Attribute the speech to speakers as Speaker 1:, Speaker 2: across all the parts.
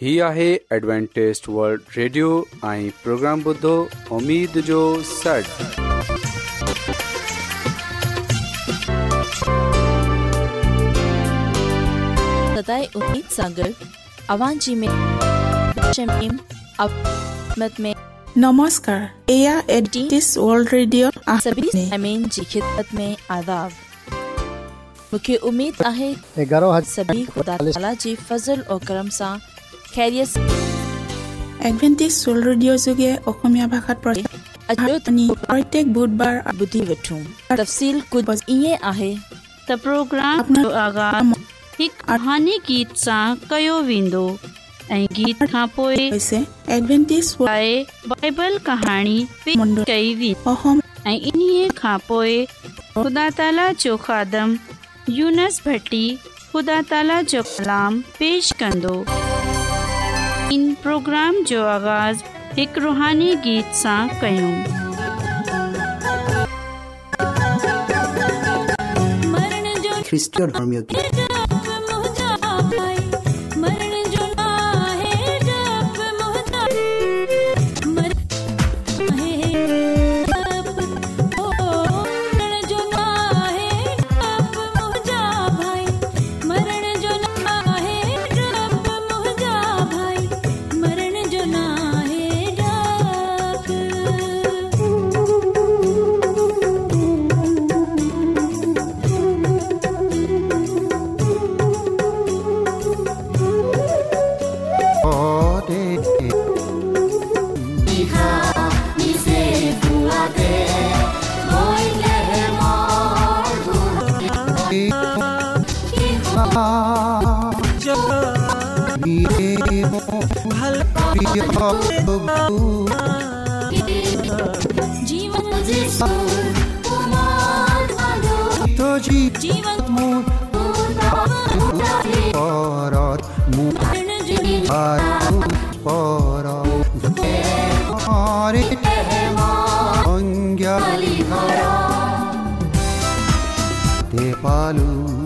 Speaker 1: ही आहे Adventist world radio ऐं programme ॿुधो उमेद जो सॾु
Speaker 2: सदाए उम्मीद सागर अवां जी में शमीम अब मत में
Speaker 3: নমস্কাৰ এয়া এডভেণ্টিছ ৱৰ্ল্ড ৰেডিঅ'
Speaker 2: सभी अमीन जी खिदमत में आदाब मुख्य उम्मीद आहे
Speaker 4: एगारह
Speaker 2: सभी खुदा ताला जी फजल और करम सा खैरियत से
Speaker 3: এডভেণ্টিছ ৱৰ্ল্ড ৰেডিঅ' যোগে অসমীয়া ভাষাত প্ৰচাৰ
Speaker 2: अजो
Speaker 3: আপুনি প্ৰত্যেক বুধবাৰ
Speaker 2: बुधी वठूं तफसील कुछ इएं आहे
Speaker 5: त प्रोग्राम जो आगाज़ हिकु रुहानी गीत सां कयो वेंदो ऐं गीत खां पोइ
Speaker 3: হৈছে এডভেণ্টিছ ৱৰ্ল্ড
Speaker 5: लाइ बाइबल कहाणी पेश
Speaker 3: मुंडो।
Speaker 5: कई वेंदी
Speaker 3: অসম
Speaker 5: ऐं इन्हीअ खां पोइ ख़ुदा ताला जो खादम यूनस भट्टी ख़ुदा ताला जो कलाम पेश कंदो इन प्रोग्राम जो आगाज़ हिकु रुहानी गीत सां कयूं
Speaker 4: খ্রিস্টীয় ধর্মীয় গীত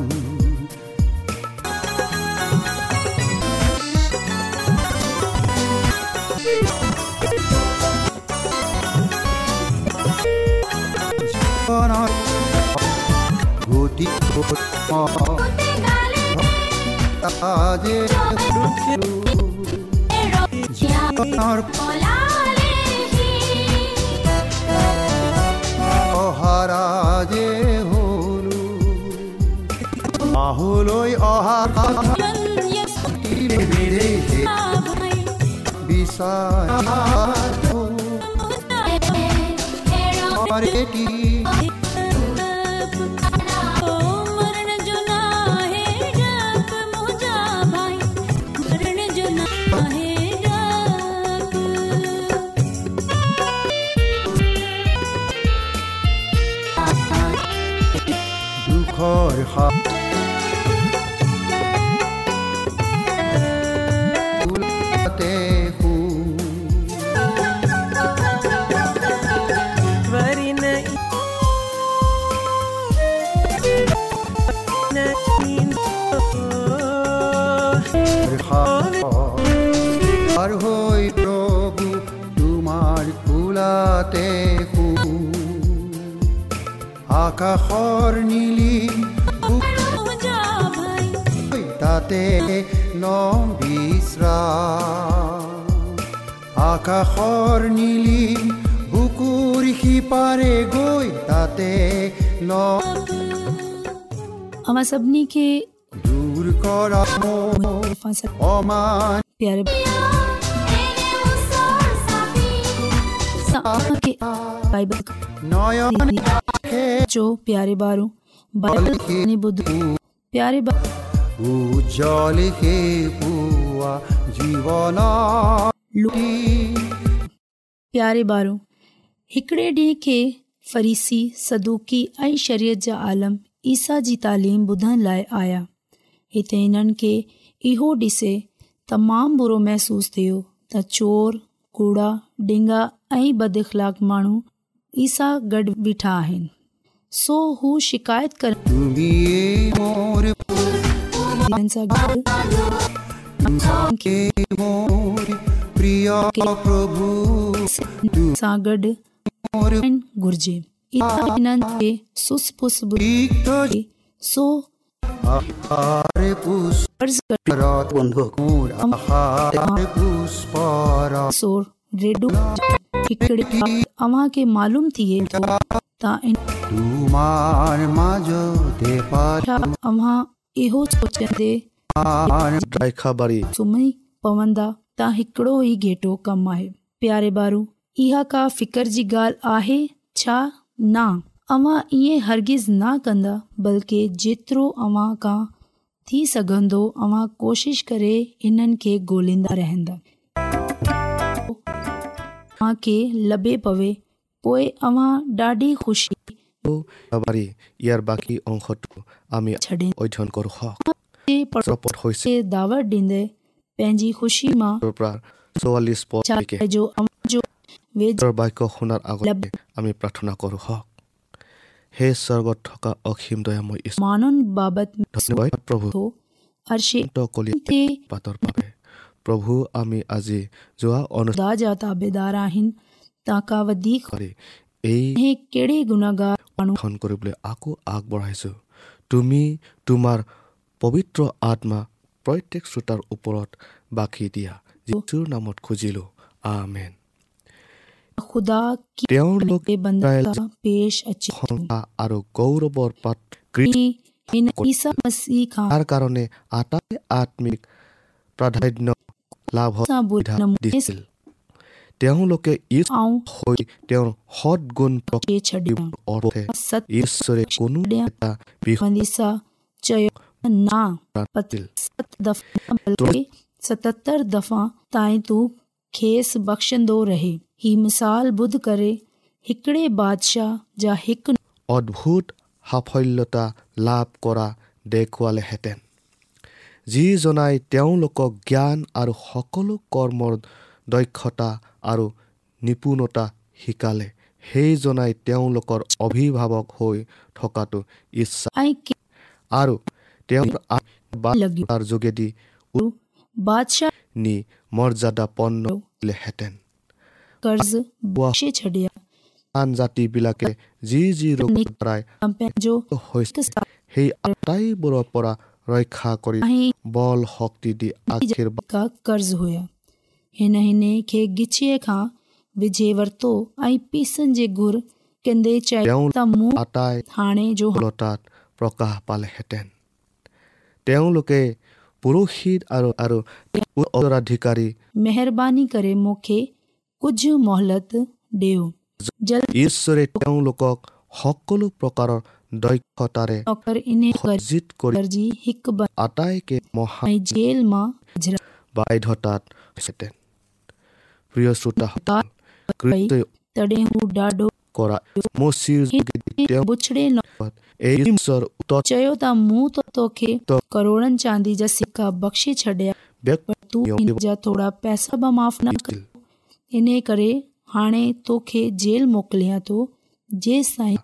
Speaker 6: পালু গুটি আজে অহারাজে হলু আহুলই অহা বিচার কি দুখৰ হাত ফুলতে সু আর হই প্ৰভু তোমাৰ কুলাতে হু আকাশৰ নীলি বুক হৈ তাতে লম বিশ্ৰা আকাশৰ নীলি বুকুৰ সিপাৰে গৈ তাতে লম
Speaker 7: अवां सभिनी खे
Speaker 6: দূৰ কৰা মোৰ
Speaker 7: तोहफ़ा सां
Speaker 6: অমান
Speaker 7: प्यार अवां खे बाइबल
Speaker 6: নয়ন
Speaker 7: जो प्यारे ॿारु बाइबल कहाणी ॿुधो प्यारे ॿारु
Speaker 6: উজ্জ্বল হে পুৱা জীৱন
Speaker 7: लू- प्यारे ॿारु हिकिड़े ॾींहं खे फरीसी सदूकी ऐं शरीयत जा आलम ईसा जी तालीम ॿुधण लाइ आया हिते हिननि खे इहो ॾिसे तमामु बुरो महसूसु थियो त चोर कूड़ा डिंगा ऐं बदख़लाक माण्हू ईसा गॾु बीठा आहिनि सो हू शिकायत करण
Speaker 6: তুমিয়ে মোৰ
Speaker 7: हिननि सां गॾु
Speaker 6: के मोर प्रिय प्रभु
Speaker 7: सां गॾु थियणु घुर्जे इन्हनि खे सुस पुस बुधी
Speaker 6: तीक्त
Speaker 7: सो
Speaker 6: आहार पुष्प
Speaker 7: फर्ज़ कर
Speaker 6: बंधु मोर आहार पुष्प
Speaker 7: सोर रेडो हिकिड़े वक़्तु अव्हां खे मालूम थिए थो त इन
Speaker 6: तुमार माजो दे पार
Speaker 7: छा अव्हां इहो सोचंदे
Speaker 8: ख़बरी
Speaker 7: सुम्ही पवंदा त हिकिड़ो ई घेटो कमु आहे प्यारे ॿारु इहा का फ़िकर जी ॻाल्हि आहे छा न अव्हां ईअं हरगिज़ न कंदा बल्कि जेतिरो अव्हां खां थी सघंदो अव्हां कोशिश करे इन्हनि खे ॻोल्हींदा रहंदा अव्हां खे लभे पवे पोइ अव्हां ॾाढी ख़ुशी
Speaker 8: ख़बरी ইয়াৰ বাকী অংশটো আমি
Speaker 7: छॾे
Speaker 8: অধ্যয়ন কৰোঁ হওক
Speaker 7: ते पढ़ो
Speaker 8: চপত হৈছে
Speaker 7: ते दावत ॾींदे पंहिंजी ख़ुशी मां
Speaker 8: পৰা চৌৱাল্লিছ পদলৈকে
Speaker 7: चाहे जो अव्हां जो वेझो
Speaker 8: ঈশ্বৰৰ বাক্য শুনাৰ আগতে আমি প্ৰাৰ্থনা কৰোঁ হওক সেই স্বৰ্গত থকা অসীম দয়াময় ঈশ্বৰ
Speaker 7: माण्हुनि बाबति
Speaker 8: ধন্যবাদ প্ৰভু
Speaker 7: थो अर्शे
Speaker 8: অন্ত কলিয়া
Speaker 7: ते
Speaker 8: পাতৰ বাবে প্ৰভু আমি আজি যোৱা অনুষ্ঠান
Speaker 7: ख़ुदा जा ताबेदार आहिनि तव्हांखां वधीक
Speaker 8: কৰি এই
Speaker 7: हे कहिड़े गुनाहगार माण्हू
Speaker 8: ধন কৰিবলৈ আকৌ আগবঢ়াইছোঁ তুমি তোমাৰ পবিত্ৰ আত্মা প্ৰত্যেক শ্ৰোতাৰ ওপৰত বাকী দিয়া যিটোৰ নামত খুজিলোঁ আমেন
Speaker 7: ख़ुदा कीअं
Speaker 8: তেওঁলোক
Speaker 7: बंदा
Speaker 8: इस्राएल
Speaker 7: सां पेश अचे
Speaker 8: প্ৰশংসা আৰু গৌৰৱৰ পাত্ৰ কৃত-
Speaker 7: हीअं हिन ईसा मसीह खां
Speaker 8: তাৰ কাৰণে আটাই আত্মিক প্ৰাধান্য লাভ
Speaker 7: सां बुरे
Speaker 8: সুবিধা
Speaker 7: नमूने
Speaker 8: দিছিল তেওঁলোকে ঈশ্বৰ
Speaker 7: ऐं
Speaker 8: হৈ তেওঁৰ সৎ গুণ প্ৰকাশ
Speaker 7: खे छॾियां
Speaker 8: অৰ্থে
Speaker 7: सत
Speaker 8: ঈশ্বৰে কোনো এটা বিষয়
Speaker 7: बंदी सां चयो न
Speaker 8: নাছিল।
Speaker 7: सत दफ़ा बल्कि सतहतरि दफ़ा ताईं तूं खेसि बख़्शंदो रहे ही मिसाल ॿुध करे हिकिड़े बादशाह जा हिकु
Speaker 8: অদ্ভুত সাফল্যতা লাভ কৰা দেখুৱালেহেঁতেন যিজনাই তেওঁলোকক জ্ঞান আৰু সকলো কৰ্মৰ দক্ষতা আৰু নিপুণতা শিকালে সেইজনাই তেওঁলোকৰ অভিভাৱক হৈ থকাটো ইচ্ছা
Speaker 7: ऐं केरु
Speaker 8: আৰু তেওঁৰ বাৰ্তাৰ যোগেদি
Speaker 7: बादशाह
Speaker 8: নি মৰ্যাদাপন্ন হ'লেহেঁতেন
Speaker 7: कर्ज़ बख़्शे छॾिया
Speaker 8: আন জাতিবিলাকে যি যি ৰোগৰ দ্বাৰাই
Speaker 7: तव्हां पंहिंजो
Speaker 8: হৈছে সেই আটাইবোৰৰ পৰা ৰক্ষা কৰি
Speaker 7: ऐं
Speaker 8: বল শক্তি দি আশীৰ্বাদ
Speaker 7: का कर्ज़ हुया हिन हिन खे गिछीअ खां विझे वरितो ऐं पीसनि जे घुर कंदे चयो त मूं
Speaker 8: আটাই
Speaker 7: हाणे जो
Speaker 8: সফলতাত প্ৰকাশ পালেহেঁতেন তেওঁলোকে পুৰোহিত আৰু আৰু উত্তৰাধিকাৰী
Speaker 7: महिरबानी करे मूंखे कुझु मोहलत ॾियो जल्द
Speaker 8: ঈশ্বৰে তেওঁলোকক সকলো প্ৰকাৰৰ দক্ষতাৰে
Speaker 7: नौकर इन कर्ज़
Speaker 8: সজ্জিত কৰি
Speaker 7: जी हिकु ब
Speaker 8: আটাইকে মহা
Speaker 7: ऐं जेल मां झिरा
Speaker 8: বাধ্যতাত হৈছেতেন প্ৰিয় শ্ৰোতাসকল
Speaker 7: पई
Speaker 8: কৃতই
Speaker 7: तॾहिं हू ॾाढो
Speaker 8: কৰা মচিৰ যোগেদি তেওঁ
Speaker 7: बुछड़े न
Speaker 8: এই ঈশ্বৰ উত্তৰ
Speaker 7: चयो त मूं त तोखे
Speaker 8: त-
Speaker 7: करोड़नि चांदी जा सिका बख़्शे छॾिया
Speaker 8: ব্যক্তি
Speaker 7: पर तूं इन जा थोरा पैसा बि माफ़ न कर इन करे हाणे तोखे जेल मोकिलियां थो जेसि ताईं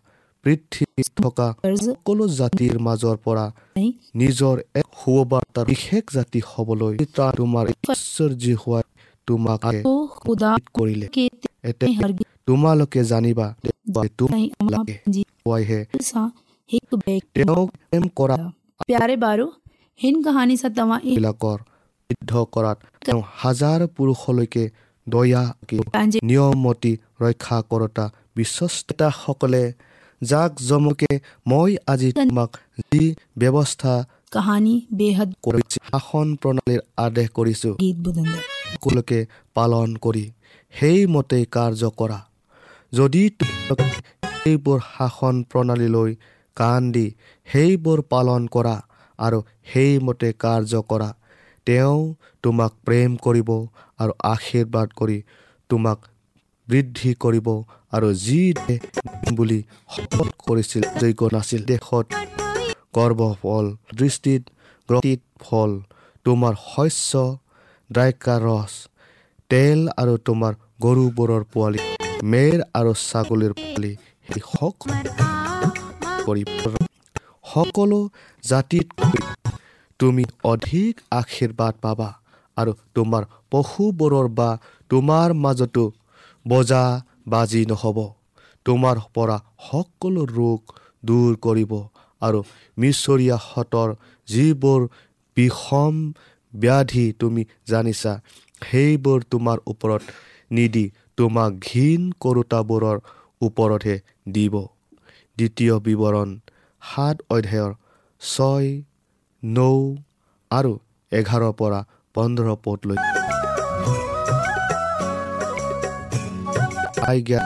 Speaker 8: পৃথিৱীত থকা
Speaker 7: कर्ज़
Speaker 8: সকলো জাতিৰ মাজৰ পৰা
Speaker 7: ताईं
Speaker 8: নিজৰ এক সুবাৰ্তাৰ বিশেষ জাতি হ'বলৈ তাৰ তোমাৰ ঈশ্বৰ যি হোৱা তোমাক
Speaker 7: तो ख़ुदा
Speaker 8: কৰিলে
Speaker 7: खे
Speaker 8: এতিয়া
Speaker 7: ते हरगिज़
Speaker 8: তোমালোকে জানিবা যে
Speaker 7: ताईं अमां
Speaker 8: লাগে।
Speaker 7: पंहिंजी
Speaker 8: তোমালোকেহে
Speaker 7: दिलि सां हिकु ॿिए खे
Speaker 8: তেওঁক প্ৰেম কৰা
Speaker 7: प्यारे ॿारो हिन कहाणी सां तव्हां इहो
Speaker 8: বিলাকৰ সিদ্ধ কৰাত তেওঁ হাজাৰ পুৰুষলৈকে দয়া
Speaker 7: पंहिंजे
Speaker 8: নিয়মমতী ৰক্ষা কৰোতা বিশ্বস্ততাসকলে যাক জমকে মই আজি তোমাক যি ব্যৱস্থা
Speaker 7: कहानी बेहद
Speaker 8: কৰিছো শাসন প্ৰণালীৰ আদেশ কৰিছোঁ
Speaker 7: गीत ॿुधंदा
Speaker 8: সকলোকে পালন কৰি সেইমতে কাৰ্য কৰা যদি তোমালোকে সেইবোৰ শাসন প্ৰণালীলৈ কাণ দি সেইবোৰ পালন কৰা আৰু সেইমতে কাৰ্য কৰা তেওঁ তোমাক প্ৰেম কৰিব আৰু আশীৰ্বাদ কৰি তোমাক বৃদ্ধি কৰিব আৰু যি দেশ দিম বুলি শপত কৰিছিল যোগ্য নাছিল দেশত গৰ্ব ফল দৃষ্টিত গ্ৰহিত ফল তোমাৰ শস্য দ্ৰাক্ষা ৰস তেল আৰু তোমাৰ গৰুবোৰৰ পোৱালি মেৰ আৰু ছাগলীৰ পোৱালি সেই সকলো কৰিব। সকলো জাতিত তুমি অধিক আশীৰ্বাদ পাবা আৰু তোমাৰ পশুবোৰৰ বা তোমাৰ মাজতো বজা বাজি নহ'ব তোমাৰ পৰা সকলো ৰোগ দূৰ কৰিব আৰু মিছৰীয়াহঁতৰ যিবোৰ বিষম ব্যাধি তুমি জানিছা সেইবোৰ তোমাৰ ওপৰত নিদি তোমাক ঘীন কৰোতাবোৰৰ ওপৰতহে দিব দ্বিতীয় বিৱৰণ সাত অধ্যায়ৰ ছয় নৌ আৰু এঘাৰৰ পৰা পোন্ধৰ পদলৈ আজ্ঞা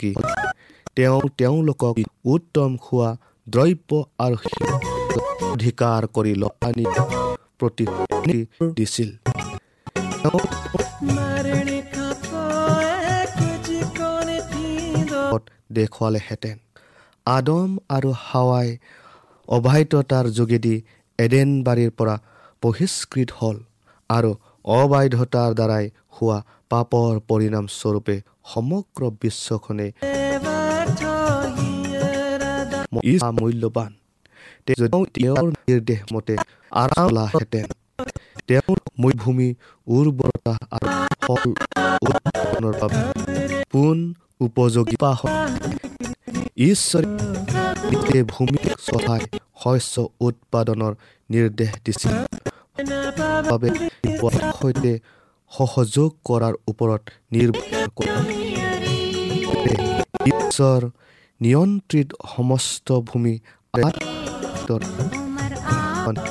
Speaker 8: কি তেওঁ তেওঁলোকক উত্তম খোৱা দ্ৰব্য আৰু অধিকাৰ কৰি লপানি প্ৰতি দিছিল দেখুৱালেহেঁতেন আদম আৰু হাৱাই অবাধ্যতাৰ যোগেদি এডেনবাৰীৰ পৰা বহিষ্কৃত হ'ল আৰু অবাধ্যতাৰ দ্বাৰাই হোৱা পাপৰ পৰিণামস্বৰূপে সমগ্ৰ বিশ্বখনে ইচ্ছা মূল্যৱান তেওঁ তেওঁৰ নিৰ্দেশ মতে আৰাম লাহেঁতেন তেওঁৰ মৰুভূমি উৰ্বৰতা আৰু ফল উৎপাদনৰ বাবে পোন উপযোগী পা ঈশ্বৰে নিজে ভূমিক চহাই শস্য উৎপাদনৰ নিৰ্দেশ দিছিল বাবে সৈতে সহযোগ কৰাৰ ওপৰত নিৰ্ভৰ কৰে ঈশ্বৰ নিয়ন্ত্ৰিত সমস্ত ভূমি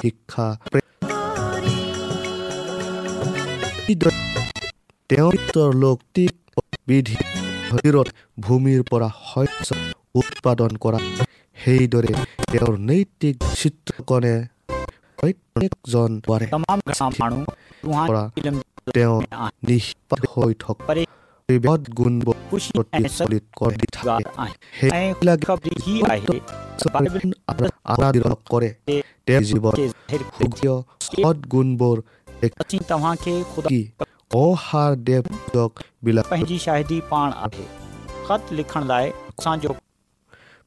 Speaker 8: শিক্ষা তেওঁৰ লৌকিক বিধি ভূমিৰ পৰা শস্য উৎপাদন কৰা সেইদৰে তেওঁৰ নৈতিক চিত্ৰকণে প্ৰত্যেকজন পাৰে তেওঁ নিষ্পাত হৈ থকা গুণবোৰ প্ৰতিফলিত কৰি থাকে সেইবিলাকে আৰাধিত কৰে তেওঁ জীৱন সৎ গুণবোৰ অহাৰ দেৱক বিলাক
Speaker 9: शाहिदी पाण आहे ख़त लिखण लाइ असांजो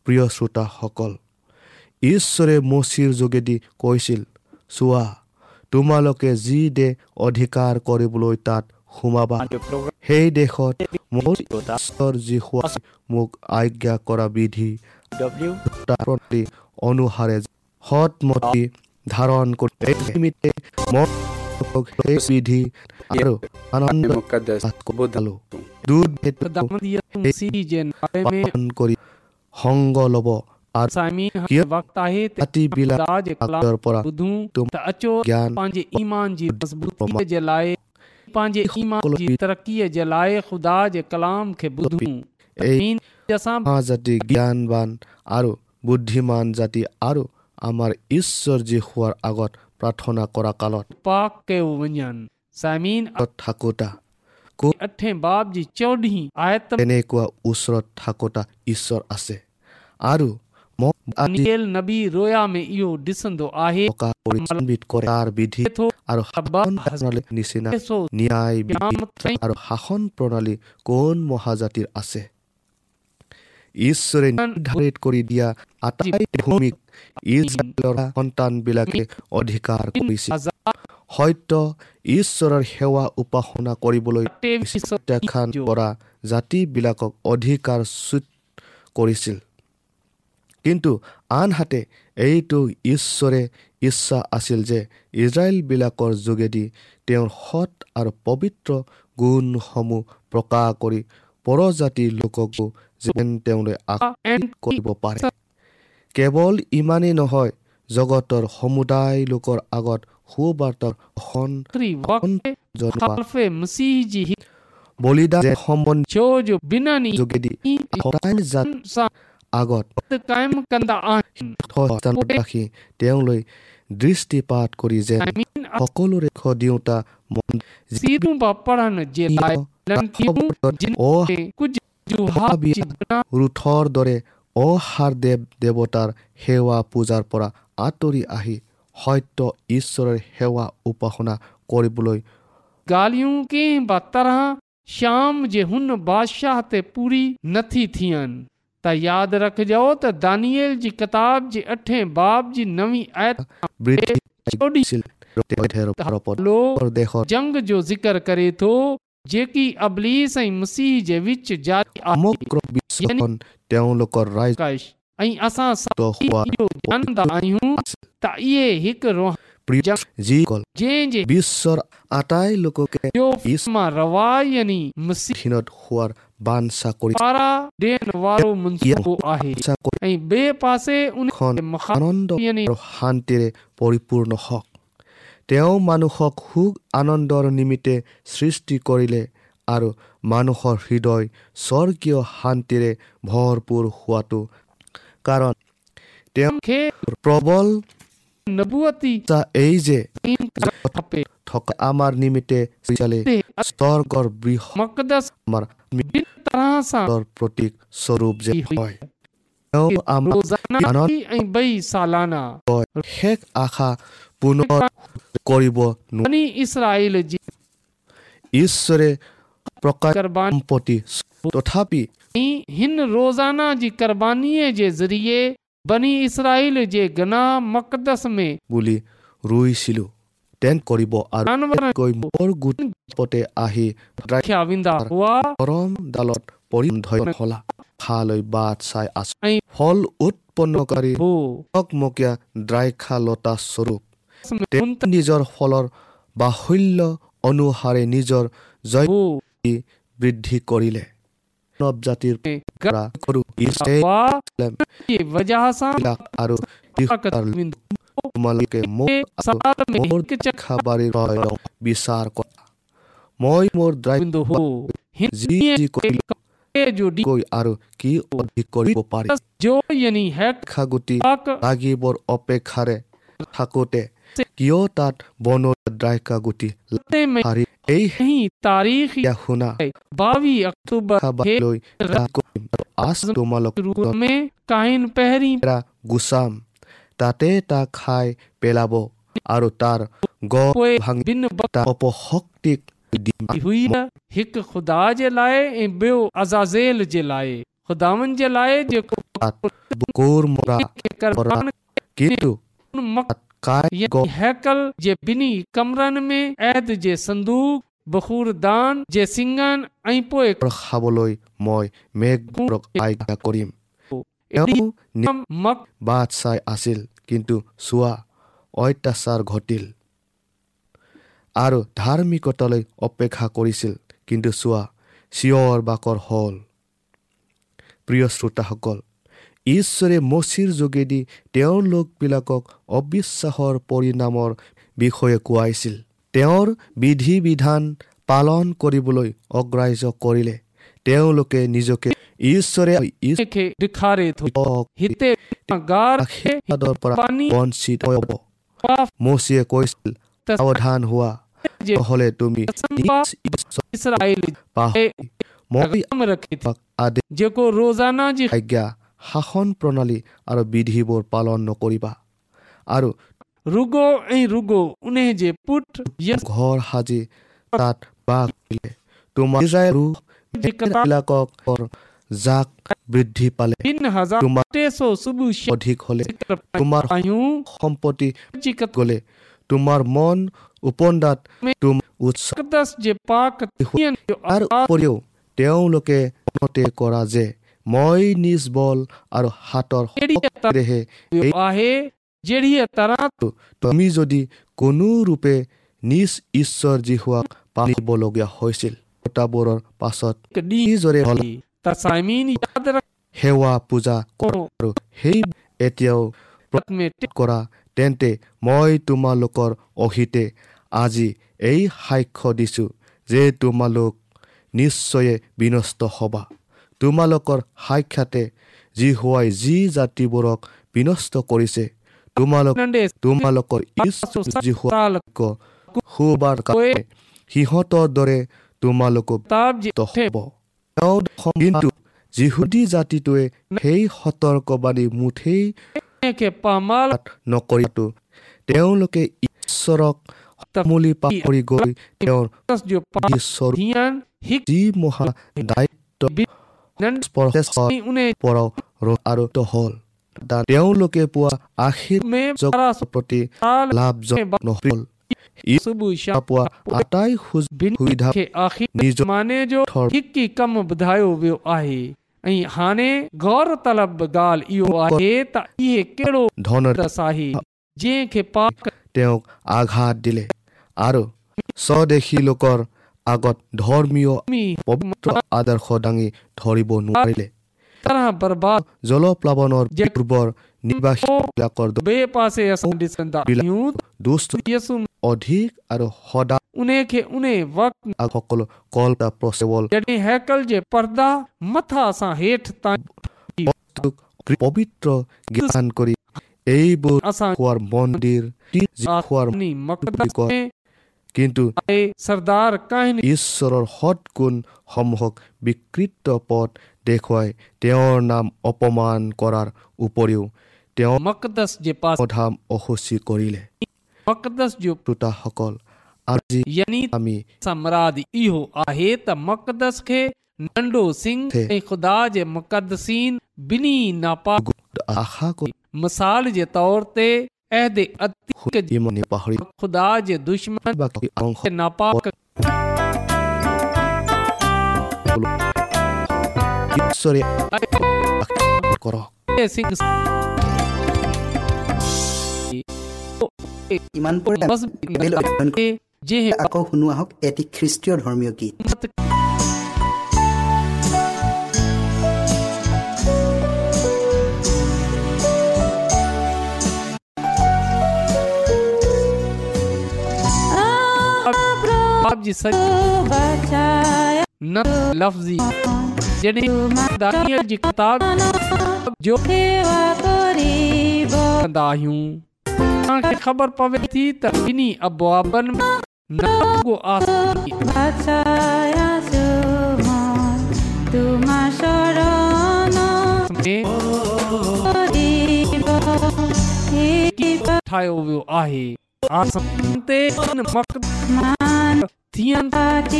Speaker 8: প্ৰিয় শ্ৰোতাসকল ঈশ্বৰে মচিৰ যোগেদি কৈছিল চোৱা তোমালোকে যি দেশ অধিকাৰ কৰিবলৈ তাত সোমাবা সেই দেশত মোৰ ঈশ্বৰ যি হোৱা মোক আজ্ঞা কৰা বিধি
Speaker 9: डब्ल्यू
Speaker 8: প্ৰতি অনুসাৰে সৎমতি ধাৰণ কৰি এই নিমিত্তে মই তোমালোকক সেই বিধি আৰু আনন্দ
Speaker 1: मुक़दस
Speaker 8: কবদালো দূত ভেদ পালন কৰি সংগ ল'ব আৰু কিয়
Speaker 10: वक़्तु आहे त
Speaker 8: ৰাতিবিলাক
Speaker 10: ख़ुदा जे
Speaker 8: ৰাতৰ পৰা
Speaker 10: ॿुধूं
Speaker 8: तुम
Speaker 10: त अचो
Speaker 8: ज्ञान
Speaker 10: पंहिंजे ईमान जी मज़बूतीअ जे लाइ पंहिंजे ईमान जी तरक़ीअ जे लाइ ख़ुदा जे कलाम खे
Speaker 8: तो
Speaker 10: ॿुधूं
Speaker 8: এই
Speaker 10: आमीन। असां
Speaker 8: মহাজাতি জ্ঞানবান আৰু বুদ্ধিমান জাতি আৰু আমাৰ ঈশ্বৰ যি হোৱাৰ আগত প্ৰাৰ্থনা কৰা কালত
Speaker 10: पाक कयो वञनि साइमीन
Speaker 8: तो থাকোতা
Speaker 10: अठे बाब जी চोॾहीं आयत में
Speaker 8: তেনেকুৱা ওচৰত থাকোতা ঈশ্বৰ আছে আৰু মই আজি
Speaker 10: दानियल नबी रोया में इहो ॾिसंदो आहे
Speaker 8: থকা পৰিচম্বিত কৰে তাৰ বিধি
Speaker 10: थो
Speaker 8: আৰু শাসন প্ৰণালী নিচিনা
Speaker 10: ॾिसो
Speaker 8: ন্যায় বিধি আৰু শাসন প্ৰণালী কোন মহাজাতিৰ আছে ঈশ্বৰে নিৰ্ধাৰিত কৰি দিয়া আটাই ভূমিক ইজৰাইলৰ সন্তানবিলাকে অধিকাৰ কৰিছিল
Speaker 10: हज़ार
Speaker 8: সত্য ঈশ্বৰৰ সেৱা উপাসনা কৰিবলৈ
Speaker 10: टेवीह सौ
Speaker 8: প্ৰত্যাখ্যান কৰা জাতিবিলাকক অধিকাৰচ্যুত কৰিছিল কিন্তু আনহাতে এইটো ঈশ্বৰে ইচ্ছা আছিল যে ইজৰাইলবিলাকৰ যোগেদি তেওঁৰ সৎ আৰু পবিত্ৰ গুণসমূহ প্ৰকাশ কৰি পৰজাতি লোককো যেন তেওঁলৈ আকৰ্ষিত কৰিব পাৰে কেৱল ইমানেই নহয় জগতৰ সমুদায় লোকৰ আগত সুবাৰ্তাৰ সন
Speaker 10: आख़िरी वक़्त
Speaker 8: জনোৱা
Speaker 10: खालफे मसीह जी हिक
Speaker 8: বলিদান সম্বন্ধীয়
Speaker 10: छो जो ॿिन्हिनि ई
Speaker 8: যোগেদি সদায় জাত
Speaker 10: सां
Speaker 8: আগত
Speaker 10: क़ाइमु कंदा आहिनि
Speaker 8: সস্থানত ৰাখি তেওঁলৈ দৃষ্টিপাত কৰি যেন
Speaker 10: आमीन।
Speaker 8: সকলোৰে খ দিওঁতা মন
Speaker 10: सीरूं बि पढ़ण जे लाइ लंकियूं जिन खे कुझु जुहाब जी गुनाह
Speaker 8: ৰুথৰ দৰে অসাৰ দেৱ দেৱতাৰ সেৱা পূজাৰ পৰা আঁতৰি আহি সত্য ঈশ্বৰৰ সেৱা উপাসনা কৰিবলৈ
Speaker 10: ॻाल्हियूं कंहिं बि तरह शाम जे हुन बादशाह ते पूरी नथी थियनि त यादि रखजो त दानियल जी किताब जे अठें बाब जी नवी आयत
Speaker 8: বৃদ্ধি
Speaker 10: चोॾहीं
Speaker 8: হৈছিল
Speaker 10: लो
Speaker 8: देखो
Speaker 10: जंग जो ज़िक्र करे थो जेकी अबलीस ऐं मसीह जे विच जारी आहे
Speaker 8: তেওঁলোকৰ ৰাইজ
Speaker 10: ऐं असां सभु इहो ॼाणंदा आहियूं त इहे हिकु
Speaker 8: প্ৰিয় যিসকল
Speaker 10: जंहिंजे
Speaker 8: বিশ্বৰ আটাই লোককে
Speaker 10: जो मां रवायनी मसीह
Speaker 8: হীনত হোৱাৰ বাঞ্ছা কৰি
Speaker 10: पारां ॾियण वारो मनसूबो आहे ऐं ॿिए पासे उनखे महान
Speaker 8: আনন্দ
Speaker 10: यानी
Speaker 8: আৰু শান্তিৰে পৰিপূৰ্ণ হওক তেওঁ মানুহক সুখ আনন্দৰ নিমিত্তে সৃষ্টি কৰিলে আৰু মানুহৰ হৃদয় স্বৰ্গীয় শান্তিৰে ভৰপূৰ হোৱাটো কাৰণ তেওঁ
Speaker 10: खे
Speaker 8: প্ৰবল
Speaker 10: नबूअती
Speaker 8: তা এই যে
Speaker 10: खपे
Speaker 8: থকা আমাৰ নিমিত্তে চালে স্বৰ্গৰ বৃহৎ
Speaker 10: मक़दस
Speaker 8: আমাৰ
Speaker 10: ॿी तरह सां
Speaker 8: মৃত্যুৰ প্ৰতীক স্বৰূপ যে
Speaker 10: थी हुई।
Speaker 8: হয় তেওঁ আমাৰ
Speaker 10: रोज़ाना
Speaker 8: আনন্দ
Speaker 10: ऐं ॿई सालाना
Speaker 8: শেষ আশা পুনৰ কৰিব নোৱাৰে।
Speaker 10: यानी इसराइल जी
Speaker 8: ঈশ্বৰে প্ৰকাশ
Speaker 10: क़ुर्बानी
Speaker 8: সম্পত্তি তথাপি
Speaker 10: हिन रोज़ाना जी क़ुर्बानीअ जे ज़रिए बनी इसराइल जे गनाह मक़दस में
Speaker 8: বুলি ৰুইছিলো তেন কৰিব আৰু
Speaker 10: जानवरनि
Speaker 8: কৈ বৰ গোটপতে আহি
Speaker 10: रखिया वेंदा हुआ
Speaker 8: গৰম ডালত পৰি ধৰি হলা খালৈ বাট চাই আছো
Speaker 10: ऐं
Speaker 8: ফল উৎপন্নকাৰী
Speaker 10: हो
Speaker 8: টকমকীয়া দ্ৰাক্ষা লতা স্বৰূপ তেওঁ
Speaker 10: हुन त
Speaker 8: নিজৰ ফলৰ বাহুল্য অনুসাৰে নিজৰ জয়
Speaker 10: हो
Speaker 8: বৃদ্ধি কৰিলে মানৱ জাতিৰ পৰা সৰু ইছৰাইল
Speaker 10: हुआ जे वजह सां
Speaker 8: আৰু
Speaker 10: ताक़त
Speaker 8: দিশৰ
Speaker 10: वेंदो
Speaker 8: তোমালোকে মোক
Speaker 10: ऐं
Speaker 8: আৰু
Speaker 10: साल में
Speaker 8: মোৰ
Speaker 10: हिकु चकर
Speaker 8: খাবাৰী ৰয়ক বিচাৰ কৰা মই মোৰ দ্ৰাক্ষা
Speaker 10: वेंदो हो हिन
Speaker 8: যি যি কৰিলো
Speaker 10: ॾींहं जो ॾींहुं
Speaker 8: কৈ আৰু কি অধিক কৰিব পাৰি
Speaker 10: जो यानी हैक
Speaker 8: খাগুটি
Speaker 10: पाक
Speaker 8: লাগিবৰ অপেক্ষাৰে থাকোঁতে কিয় তাত বনৰ দ্ৰাক্ষা গুটি
Speaker 10: हफ़्ते में
Speaker 8: হাৰি এই
Speaker 10: ही तारीख़
Speaker 8: সেয়া শুনা
Speaker 10: ॿावीह अक्टूबर खे
Speaker 8: খাবলৈ ৰাত কৰিম আৰু আজ তোমালোক
Speaker 10: रूप में काइन पहिरीं
Speaker 8: এৰা গুচাম তাতে তাক খাই পেলাব আৰু তাৰ গছ
Speaker 10: पोइ
Speaker 8: ভাঙি
Speaker 10: ॿिनि
Speaker 8: তাৰ অপশক্তিক দিম
Speaker 10: वक़्ती हुई हिकु ख़ुदा जे लाइ ऐं ॿियो अज़ाज़ेल जे लाइ ख़ुदावन जे लाइ जेको
Speaker 8: কোৰ মৰা
Speaker 10: खे कर्बान
Speaker 8: কিন্তু
Speaker 10: मक-
Speaker 8: তাত কাই
Speaker 10: यानी
Speaker 8: গছ
Speaker 10: हैकल जे ॿिन्ही कमरनि में ऐद जे संदूक बखूरदान जे सिङनि ऐं पोइ
Speaker 8: খাবলৈ মই মেঘবোৰক আজ্ঞা কৰিম
Speaker 10: एॾी
Speaker 8: তেওঁ নি-
Speaker 10: कम मक
Speaker 8: বাট চাই আছিল কিন্তু চোৱা অত্যাচাৰ ঘটিল আৰু ধাৰ্মিকতালৈ অপেক্ষা কৰিছিল কিন্তু চোৱা চিঞৰ বাকৰ হ'ল প্ৰিয় শ্ৰোতাসকল ঈশ্বৰে মচিৰ যোগেদি তেওঁৰ লোকবিলাকক অবিশ্বাসৰ পৰিণামৰ বিষয়ে কোৱাইছিল তেওঁৰ বিধি বিধান পালন কৰিবলৈ অগ্ৰাহ্য কৰিলে তেওঁলোকে নিজকে ঈশ্বৰে
Speaker 10: खे ॾेखारे थो
Speaker 8: ঈশ্বৰক
Speaker 10: हिते गार खे
Speaker 8: আশীৰ্বাদৰ পৰা
Speaker 10: পানী
Speaker 8: বঞ্চিত হ'ব
Speaker 10: পাপ
Speaker 8: মচিয়ে কৈছিল
Speaker 10: त-
Speaker 8: সাৱধান হোৱা
Speaker 10: जे
Speaker 8: নহ'লে তুমি
Speaker 10: सम्पा
Speaker 8: নিজ ঈশ্বৰক
Speaker 10: इसराइल
Speaker 8: পাহৰি
Speaker 10: जे
Speaker 8: মই
Speaker 10: कदम रखे थी
Speaker 8: তোমাক আদেশ
Speaker 10: जेको रोज़ाना जी
Speaker 8: আজ্ঞা শাসন প্ৰণালী আৰু বিধিবোৰ পালন নকৰিবা আৰু
Speaker 10: रुगो ऐं रुगो उन जे पुट यस
Speaker 8: ঘৰ সাজি তাত বাস কৰিলে তোমাৰ ইজৰাইলৰ
Speaker 10: जी कतार
Speaker 8: বিলাকৰ জাক বৃদ্ধি পালে
Speaker 10: ॿिनि हज़ार
Speaker 8: তোমাৰ
Speaker 10: टे सौ सुबुह शह
Speaker 8: অধিক হ'লে
Speaker 10: ज़िक्र पाईंदा
Speaker 8: তোমাৰ
Speaker 10: आहियूं
Speaker 8: সম্পত্তি
Speaker 10: जी कतार
Speaker 8: গ'লে তোমাৰ মন উপন্দাত তোমাৰ উৎস
Speaker 10: मुक़दस जे पाक थियण जो
Speaker 8: তাৰ
Speaker 10: आभार
Speaker 8: উপৰিও তেওঁলোকে মতে কৰা যে মই নিজ বল আৰু হাতৰ
Speaker 10: अहिड़ीअ तरह
Speaker 8: শক্তিৰেহে এই
Speaker 10: आहे जहिड़ीअ तरह
Speaker 8: তুমি যদি কোনোৰূপে নিজ ঈশ্বৰ যি হোৱাক পালিবলগীয়া হৈছিল বতাবোৰৰ পাছত
Speaker 10: हिकु ॾींहुं
Speaker 8: নিজৰে হল
Speaker 10: त साइमीन यादि
Speaker 8: সেৱা পূজা কৰা
Speaker 10: रखो
Speaker 8: আৰু সেই এতিয়াও
Speaker 10: रत में टे
Speaker 8: কৰা তেন্তে মই তোমালোকৰ অহিতে আজি এই সাক্ষ্য দিছোঁ যে তোমালোক নিশ্চয়ে বিনষ্ট হ'বা তোমালোকৰ সাক্ষাতে যি হোৱাই যি জাতিবোৰক বিনষ্ট কৰিছে তোমালোক
Speaker 10: नंढे
Speaker 8: তোমালোকৰ ঈশ্বৰ যি হোৱা
Speaker 10: साल
Speaker 8: শুবাৰ কাৰণে সিহঁতৰ দৰে তোমালোকক
Speaker 10: किताब जे
Speaker 8: মুক্ত হ'ব তেওঁ দেখোন কিন্তু যিহুদী জাতিটোৱে সেই সতৰ্কবাণী মুঠেই
Speaker 10: खे पामाल
Speaker 8: পাঠ নকৰিটো তেওঁলোকে ঈশ্বৰক সমূলি পাহৰি গৈ তেওঁৰ
Speaker 10: मुक़दस जो पाक
Speaker 8: বিশ্বৰূপ
Speaker 10: थियण हिकु
Speaker 8: যি মহা দায়িত্ব
Speaker 10: नंढ
Speaker 8: স্পৰ্শৰ
Speaker 10: उन
Speaker 8: পৰাও ৰ- আৰোপিত হ'ল তা তেওঁলোকে পোৱা আশীৰ্বাদৰ
Speaker 10: में बारहं सौ
Speaker 8: প্ৰতি
Speaker 10: साल
Speaker 8: লাভজনক নহ'ল सुबुह शाम
Speaker 11: पुआ आटाई हुज सुविधा
Speaker 8: खे आख़िर निज माने जो हिकु ई कमु ॿुधायो वियो आहे ऐं हाणे गौर तलब ॻाल्हि इहो आहे त इहे कहिड़ो
Speaker 11: ধন
Speaker 8: रस आहे जंहिंखे पाक
Speaker 11: তেওঁক আঘাত দিলে আৰু স্বদেশী লোকৰ আগত ধৰ্মীয় পবিত্ৰ আদৰ্শ দাঙি ধৰিব নোৱাৰিলে
Speaker 8: तरह बर्बाद
Speaker 11: জলপ্লাৱনৰ পূৰ্বৰ নিৰ্বাসীবিলাকৰ
Speaker 8: ॿिए पासे असां ॾिसंदा आहियूं
Speaker 11: দুষ্ট
Speaker 8: यसु
Speaker 11: অধিক আৰু সদা
Speaker 8: उन खे उन वक़्तु
Speaker 11: সকলো কল প্ৰচেবল
Speaker 8: जॾहिं हैकल जे पर्दा मथां सां हेठि ताईं
Speaker 11: পবিত্ৰ জ্ঞান কৰি এইবোৰ
Speaker 8: असां
Speaker 11: খোৱাৰ মন্দিৰ খোৱাৰ
Speaker 8: आसमानी मक़दस में
Speaker 11: কিন্তু
Speaker 8: आहे सरदार कहन
Speaker 11: ঈশ্বৰৰ সৎগুণসমূহক বিকৃত পথ দেখুৱাই তেওঁৰ নাম অপমান কৰাৰ উপৰিও তেওঁ
Speaker 8: मक़दस जे पासे
Speaker 11: ধাম অসুচী কৰিলে
Speaker 8: मक़दस जो
Speaker 11: শ্ৰোতাসকল আজি
Speaker 8: यानी
Speaker 11: আমি
Speaker 8: सम्राद इहो आहे त मक़दस खे नंढो सिंह
Speaker 11: थे।
Speaker 8: ऐं ख़ुदा जे मुक़दसीन ॿिन्ही नापाक
Speaker 11: আশা কৰি
Speaker 8: मिसाल जे तौर ते अहदे अतीक जे
Speaker 11: ইমানে পাহৰি
Speaker 8: ख़ुदा जे दुश्मन
Speaker 11: বাকী অংশ
Speaker 8: खे नापाक
Speaker 11: ঈশ্বৰে কৰক
Speaker 8: जे सिंह
Speaker 10: ইমান পৰে
Speaker 8: बस खे जंहिं
Speaker 10: আকৌ শুনো আহক এটি খ্ৰীষ্টীয় ধৰ্মীয় গীত
Speaker 8: वक़्त आप जी सच न लफ्जी जॾहिं दानियल जी किताब जो कंदा आहियूं तव्हांखे ख़बर पवे थी त ॿिन्ही अबवाबनि में न रुॻो आसमानी में ठाहियो वियो आहे आसमान ते इन मक़्सद थियनि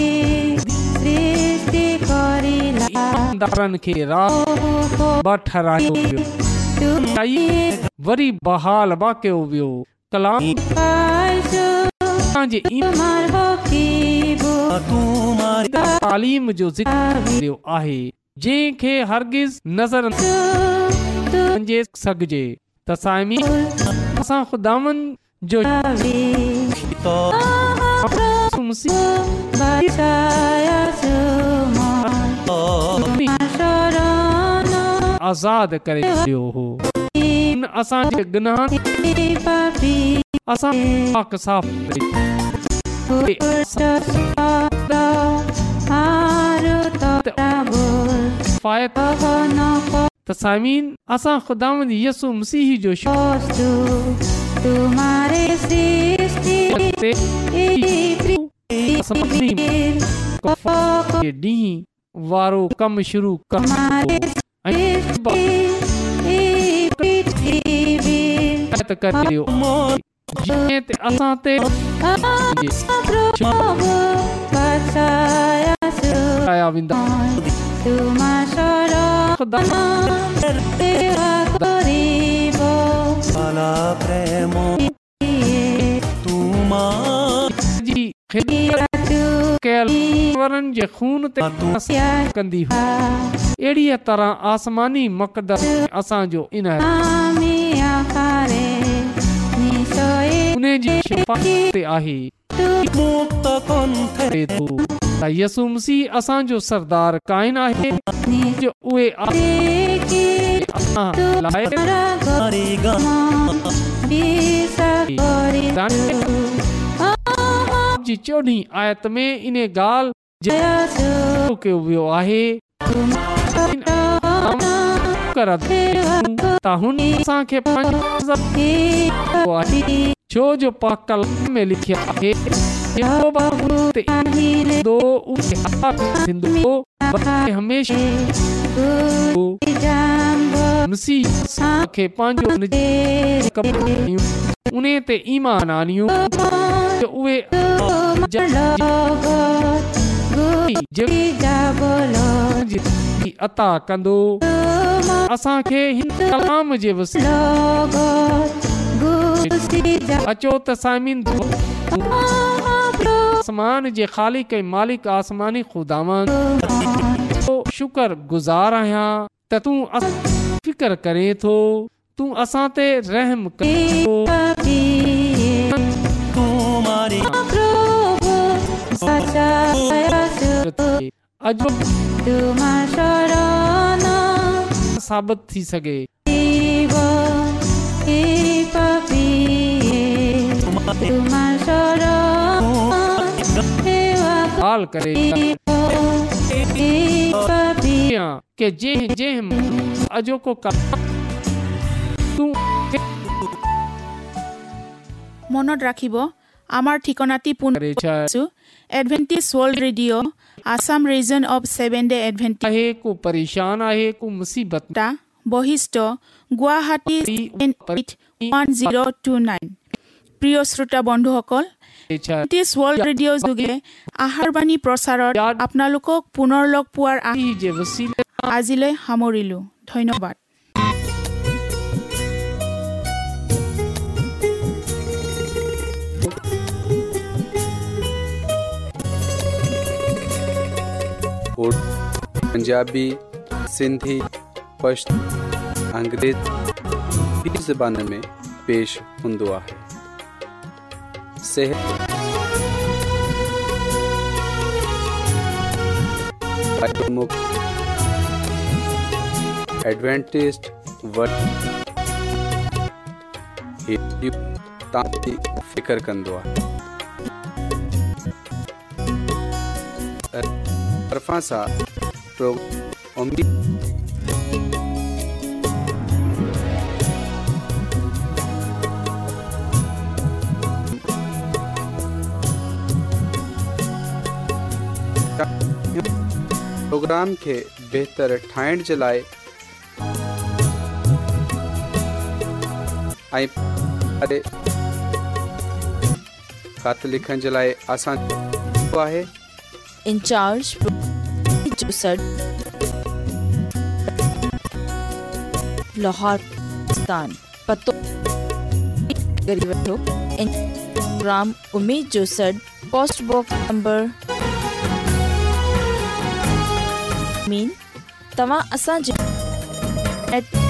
Speaker 8: ईमानदारनि खे राह बा ठहिरायो वियो ऐं वरी बहाल बा कयो वियो कलाम जे ईमान- तालीम जो ज़िक्र कयो आहे जंहिंखे हरगिज़ नज़र जे सघिजे त साइमी असां ख़ुदावन जो आज़ाद करे छॾियो हो हुन असांजे गुनाह असां पाक साफ़ करे किफ़ायत त साइमीन असां ख़ुदावंद यसु मसीह जो शुक्र ते सभिनी कफ़ात जे ॾींहुं वारो कमु शुरू करणो ऐं हिदायत करियो जीअं ते असां ते आया वेंदा ख़ुदा जी ख़िदमत कयल वरनि जे खून ते असां कंदी हुई। अहिड़ीअ तरह आसमानी मक़दस असांजो इन उन जी शिफ़ाक़त ते आहे करे थो त यसु मसीह असांजो सरदार काइन आहे जो उहे आहे असां लाइ जी चोॾहीं आयत में इन ॻाल्हि जे कयो वियो आहे त हुन असांखे पंहिंजो आहे छो जो पा कलाम में लिखियो आहे यहोवा ते दो उपहार थींदो बल्कि हमेशह हो। मसीह खे पंहिंजो निजी कबूल कयूं उन ते ईमान आणियूं जो उहे जेकी जी अता कंदो असांखे हिन कलाम जे वसीले अचो त साइमिन
Speaker 10: आसमान जे ख़ालिक ऐं मालिक आसमानी खुदावन जो शुक्र गुज़ार आहियां त तूं अस- फिकर करें थो तूं असां ते रहम करें थो अॼु साबित थी सघे हाल करे के जंहिं जंहिं अॼोको कलाम तूं
Speaker 3: মনত ৰাখিব আমাৰ ঠিকনাটি পুনৰ Adventist world radio' Assam region of seven day Adventist
Speaker 10: आहे को परेशान आहे को मुसीबत
Speaker 3: বশিষ্ট Guwahati one zero' two nine প্ৰিয় শ্ৰোতা বন্ধুসকল এডভেণ্টিজ ৱৰ্ল্ড ৰেডিঅ' যোগে আহাৰবাণী প্ৰচাৰত আপোনালোকক পুনৰ লগ পোৱাৰ আশা
Speaker 10: जे वसीले
Speaker 3: আজিলৈ সামৰিলোঁ ধন্যবাদ
Speaker 1: उर्दू पंजाबी सिंधी पश्तो अंग्रेजी ॿी ज़बान में पेश हूंदो आहे सिहत एडवेंटेज फ़िकर कंदो आहे तरफ़ा सां प्रो उम्मीद प्रोग्राम खे बहितर ठाहिण जे लाइ ऐं ख़त लिखण जे लाइ असां आहे
Speaker 2: इंचार्ज जोसर लाहौर पाकिस्तान पतो करी वठो ऐं प्रोग्राम उमेद जो सड पोस्ट बॉक्स नंबर मीन तव्हां असांजे एट